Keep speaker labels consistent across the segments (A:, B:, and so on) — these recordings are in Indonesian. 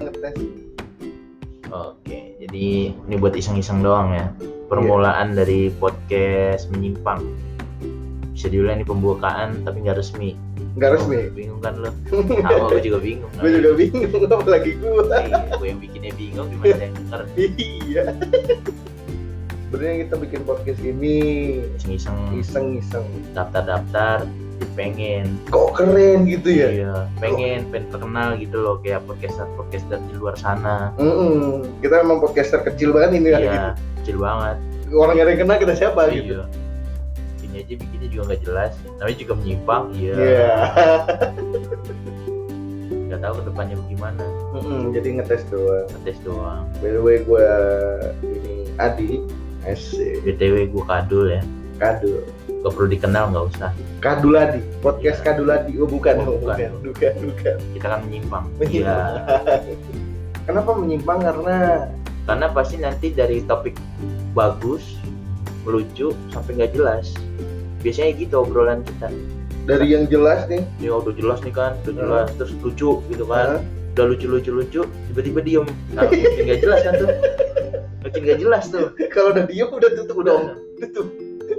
A: beres
B: Oke, jadi ini buat iseng-iseng doang
A: Iya.
B: ya. Permulaan dari podcast menyimpang. Bisa diulang ini pembukaan tapi nggak resmi.
A: nggak resmi
B: Oh, bingung kan lo? Sama gue juga bingung. kan.
A: gue juga bingung apalagi gue
B: Iya, gue yang bikinnya bingung gimana saya denger
A: iya sebenarnya kita bikin podcast ini
B: iseng-iseng
A: iseng-iseng
B: daftar-daftar pengen
A: kok keren gitu ya
B: iya pengen pengen terkenal gitu loh kayak podcaster podcaster di luar sana
A: Mm-mm. kita emang podcaster kecil banget ini kan
B: iya kecil banget
A: gitu. orang yang ada yang kenal kita siapa gitu
B: iya ini aja bikinnya juga nggak jelas namanya juga menyimpang iya
A: iya
B: nggak tahu kedepannya bagaimana
A: Mm-mm, jadi ngetes doang
B: ngetes doang
A: by the way gue ini Adi asik
B: btw gue kadul ya
A: kado
B: gak perlu dikenal nggak usah
A: Kaduladi podcast
B: Iya.
A: Kaduladi oh bukan
B: Oh,
A: oh,
B: bukan.
A: bukan bukan bukan
B: kita kan menyimpang
A: Menyimpang.
B: iya
A: kenapa menyimpang karena
B: karena pasti nanti dari topik bagus lucu sampai nggak jelas biasanya gitu obrolan kita
A: dari yang jelas nih
B: ya udah jelas nih kan udah jelas terus lucu gitu kan udah lucu lucu lucu tiba-tiba diem nah, makin nggak jelas kan tuh makin nggak jelas tuh
A: kalau udah diem udah tutup dong
B: udah
A: tutup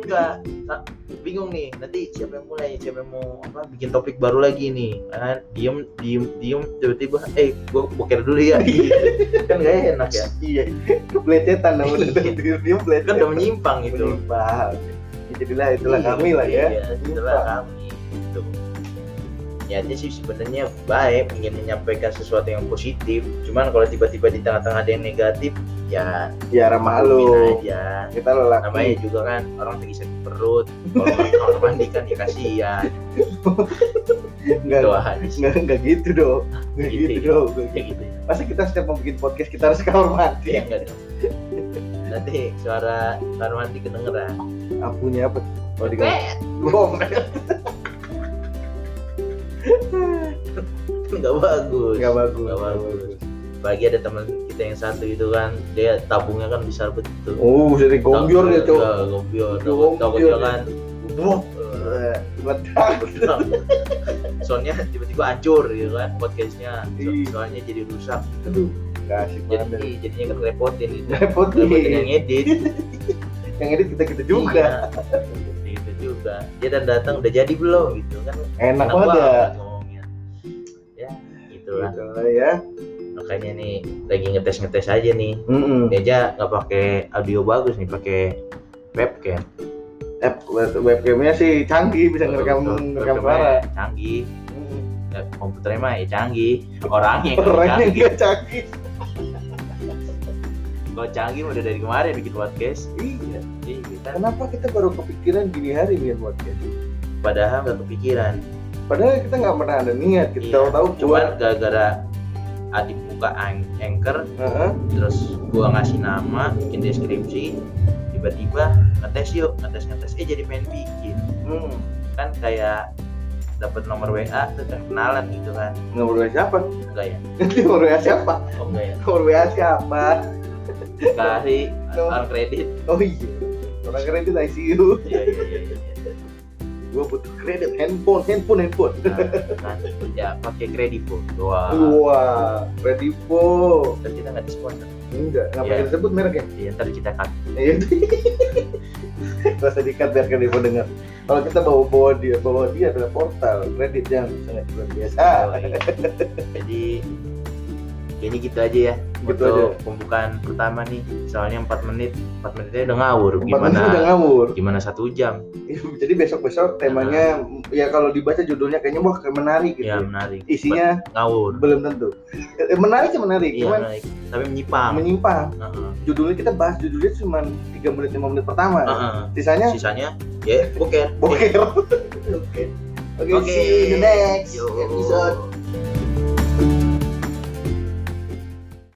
B: udah Nah, bingung nih nanti siapa yang mulai siapa yang mau apa bikin topik baru lagi nih kan diem diem diem tiba-tiba eh gua boker dulu ya gitu. kan nggak enak ya
A: iya kebelecetan dong udah
B: Iya.
A: diem diem belajar
B: kan udah menyimpang gitu
A: menyimpang Ya, jadilah itulah kami lah ya
B: Iya, itulah kami gitu. Niatnya sih sebenarnya baik, ingin menyampaikan sesuatu yang positif. Cuman kalau tiba-tiba di tengah-tengah ada yang negatif, ya
A: ya ramah
B: maklum
A: lu
B: aja.
A: kita lelaki
B: Namanya juga kan orang lagi sakit perut, kalau kamar mandi kan ya kasihan.
A: enggak
B: Doa hadis.
A: enggak enggak gitu dong enggak
B: Gitu,
A: gitu
B: gitu.
A: dong
B: Ya gitu ya.
A: masa kita setiap mau bikin podcast kita harus ke kamar mandi
B: Ya enggak dong. Nanti suara kamar mandi kedengeran.
A: ampunya apa kalau di kamar
B: Kan
A: Gombel.
B: enggak bagus.
A: nggak bagus nggak
B: Nggak bagus.
A: bagus
B: Bagi ada teman kita yang satu itu kan, dia tabungnya kan besar betul.
A: oh jadi gombior dia cowok
B: Iya, Gombior.
A: Gombior.
B: Takut dia kan.
A: Wah, eh, meledak.
B: Bener. kan, eh, Soalnya tiba-tiba hancur gitu kan podcastnya. So-
A: Ih.
B: Soalnya jadi rusak.
A: Aduh, nggak asik banget.
B: Jadi jadinya kan repotin gitu.
A: Repot
B: Repotin yang
A: nih.
B: ngedit
A: Yang edit kita kita juga.
B: Iya, Gitu juga. Dia dan datang udah jadi belum gitu kan.
A: Enak banget ya.
B: ngomongnya. Ya, gitulah.
A: Gitu lah ya.
B: Makanya nih lagi ngetes-ngetes aja nih.
A: Mm-mm.
B: Ini aja nggak pakai audio bagus nih, pakai webcam.
A: Eh, web- webcamnya sih canggih bisa ngerekam ngerekam suara. ya?
B: Webcamnya Canggih.
A: Mm.
B: Ya, komputernya mah ya canggih orangnya yang nggak
A: Orangnya
B: canggih
A: nggak Iya, canggih.
B: kalau canggih udah dari kemarin bikin podcast
A: Iya.
B: jadi kita
A: Kenapa kita baru kepikiran gini hari bikin podcast?
B: padahal nggak kepikiran
A: Padahal kita nggak pernah ada niat. Kita
B: Iya.
A: tahu-tahu
B: cuman
A: buat.
B: gara-gara adik buka an- anchor
A: Heeh.
B: terus gua ngasih nama bikin deskripsi tiba-tiba ngetes yuk ngetes ngetes eh jadi pengen bikin
A: Hmm.
B: kan kayak dapat nomor WA tuh kan kenalan gitu kan
A: Nomor WA siapa?
B: enggak ya
A: Nomor WA siapa?
B: oh enggak ya
A: Nomor WA siapa?
B: dikasih
A: Nomor-
B: orang kredit
A: Oh iya. Orang keren itu ICU.
B: iya iya iya iya
A: Gua butuh kredit handphone, handphone, handphone.
B: Nah, kan ya pakai kredivo doang
A: Wah, Redivo.
B: dan kita nggak di sponsor
A: Enggak,
B: Iya.
A: ngapain disebut mereknya?
B: ya ntar kita cut
A: Iya. Gak usah dikat biar Redivo dengar. Kalau kita bawa bawa dia, bawa dia adalah portal kredit yang sangat luar biasa.
B: iya. jadi ini gitu aja ya
A: Gitu
B: untuk pembukaan pertama nih soalnya 4 menit 4 menitnya udah ngawur
A: Tempat
B: gimana
A: itu udah ngawur.
B: gimana satu jam
A: Jadi besok besok temanya ya kalau dibaca judulnya kayaknya wah kayak menarik gitu.
B: ya menarik
A: Isinya
B: But ngawur
A: belum tentu. Eh, Menarik sih menarik,
B: iya Ah.
A: cuman
B: menarik tapi menyimpang
A: menyimpang.
B: Heeh.
A: Judulnya kita bahas judulnya cuma 3 menit 5 menit pertama.
B: Heeh.
A: Sisanya
B: sisanya ya boker
A: boker. Oke. Oke,
B: Oke.
A: see you in the next
B: Yo.
A: episode.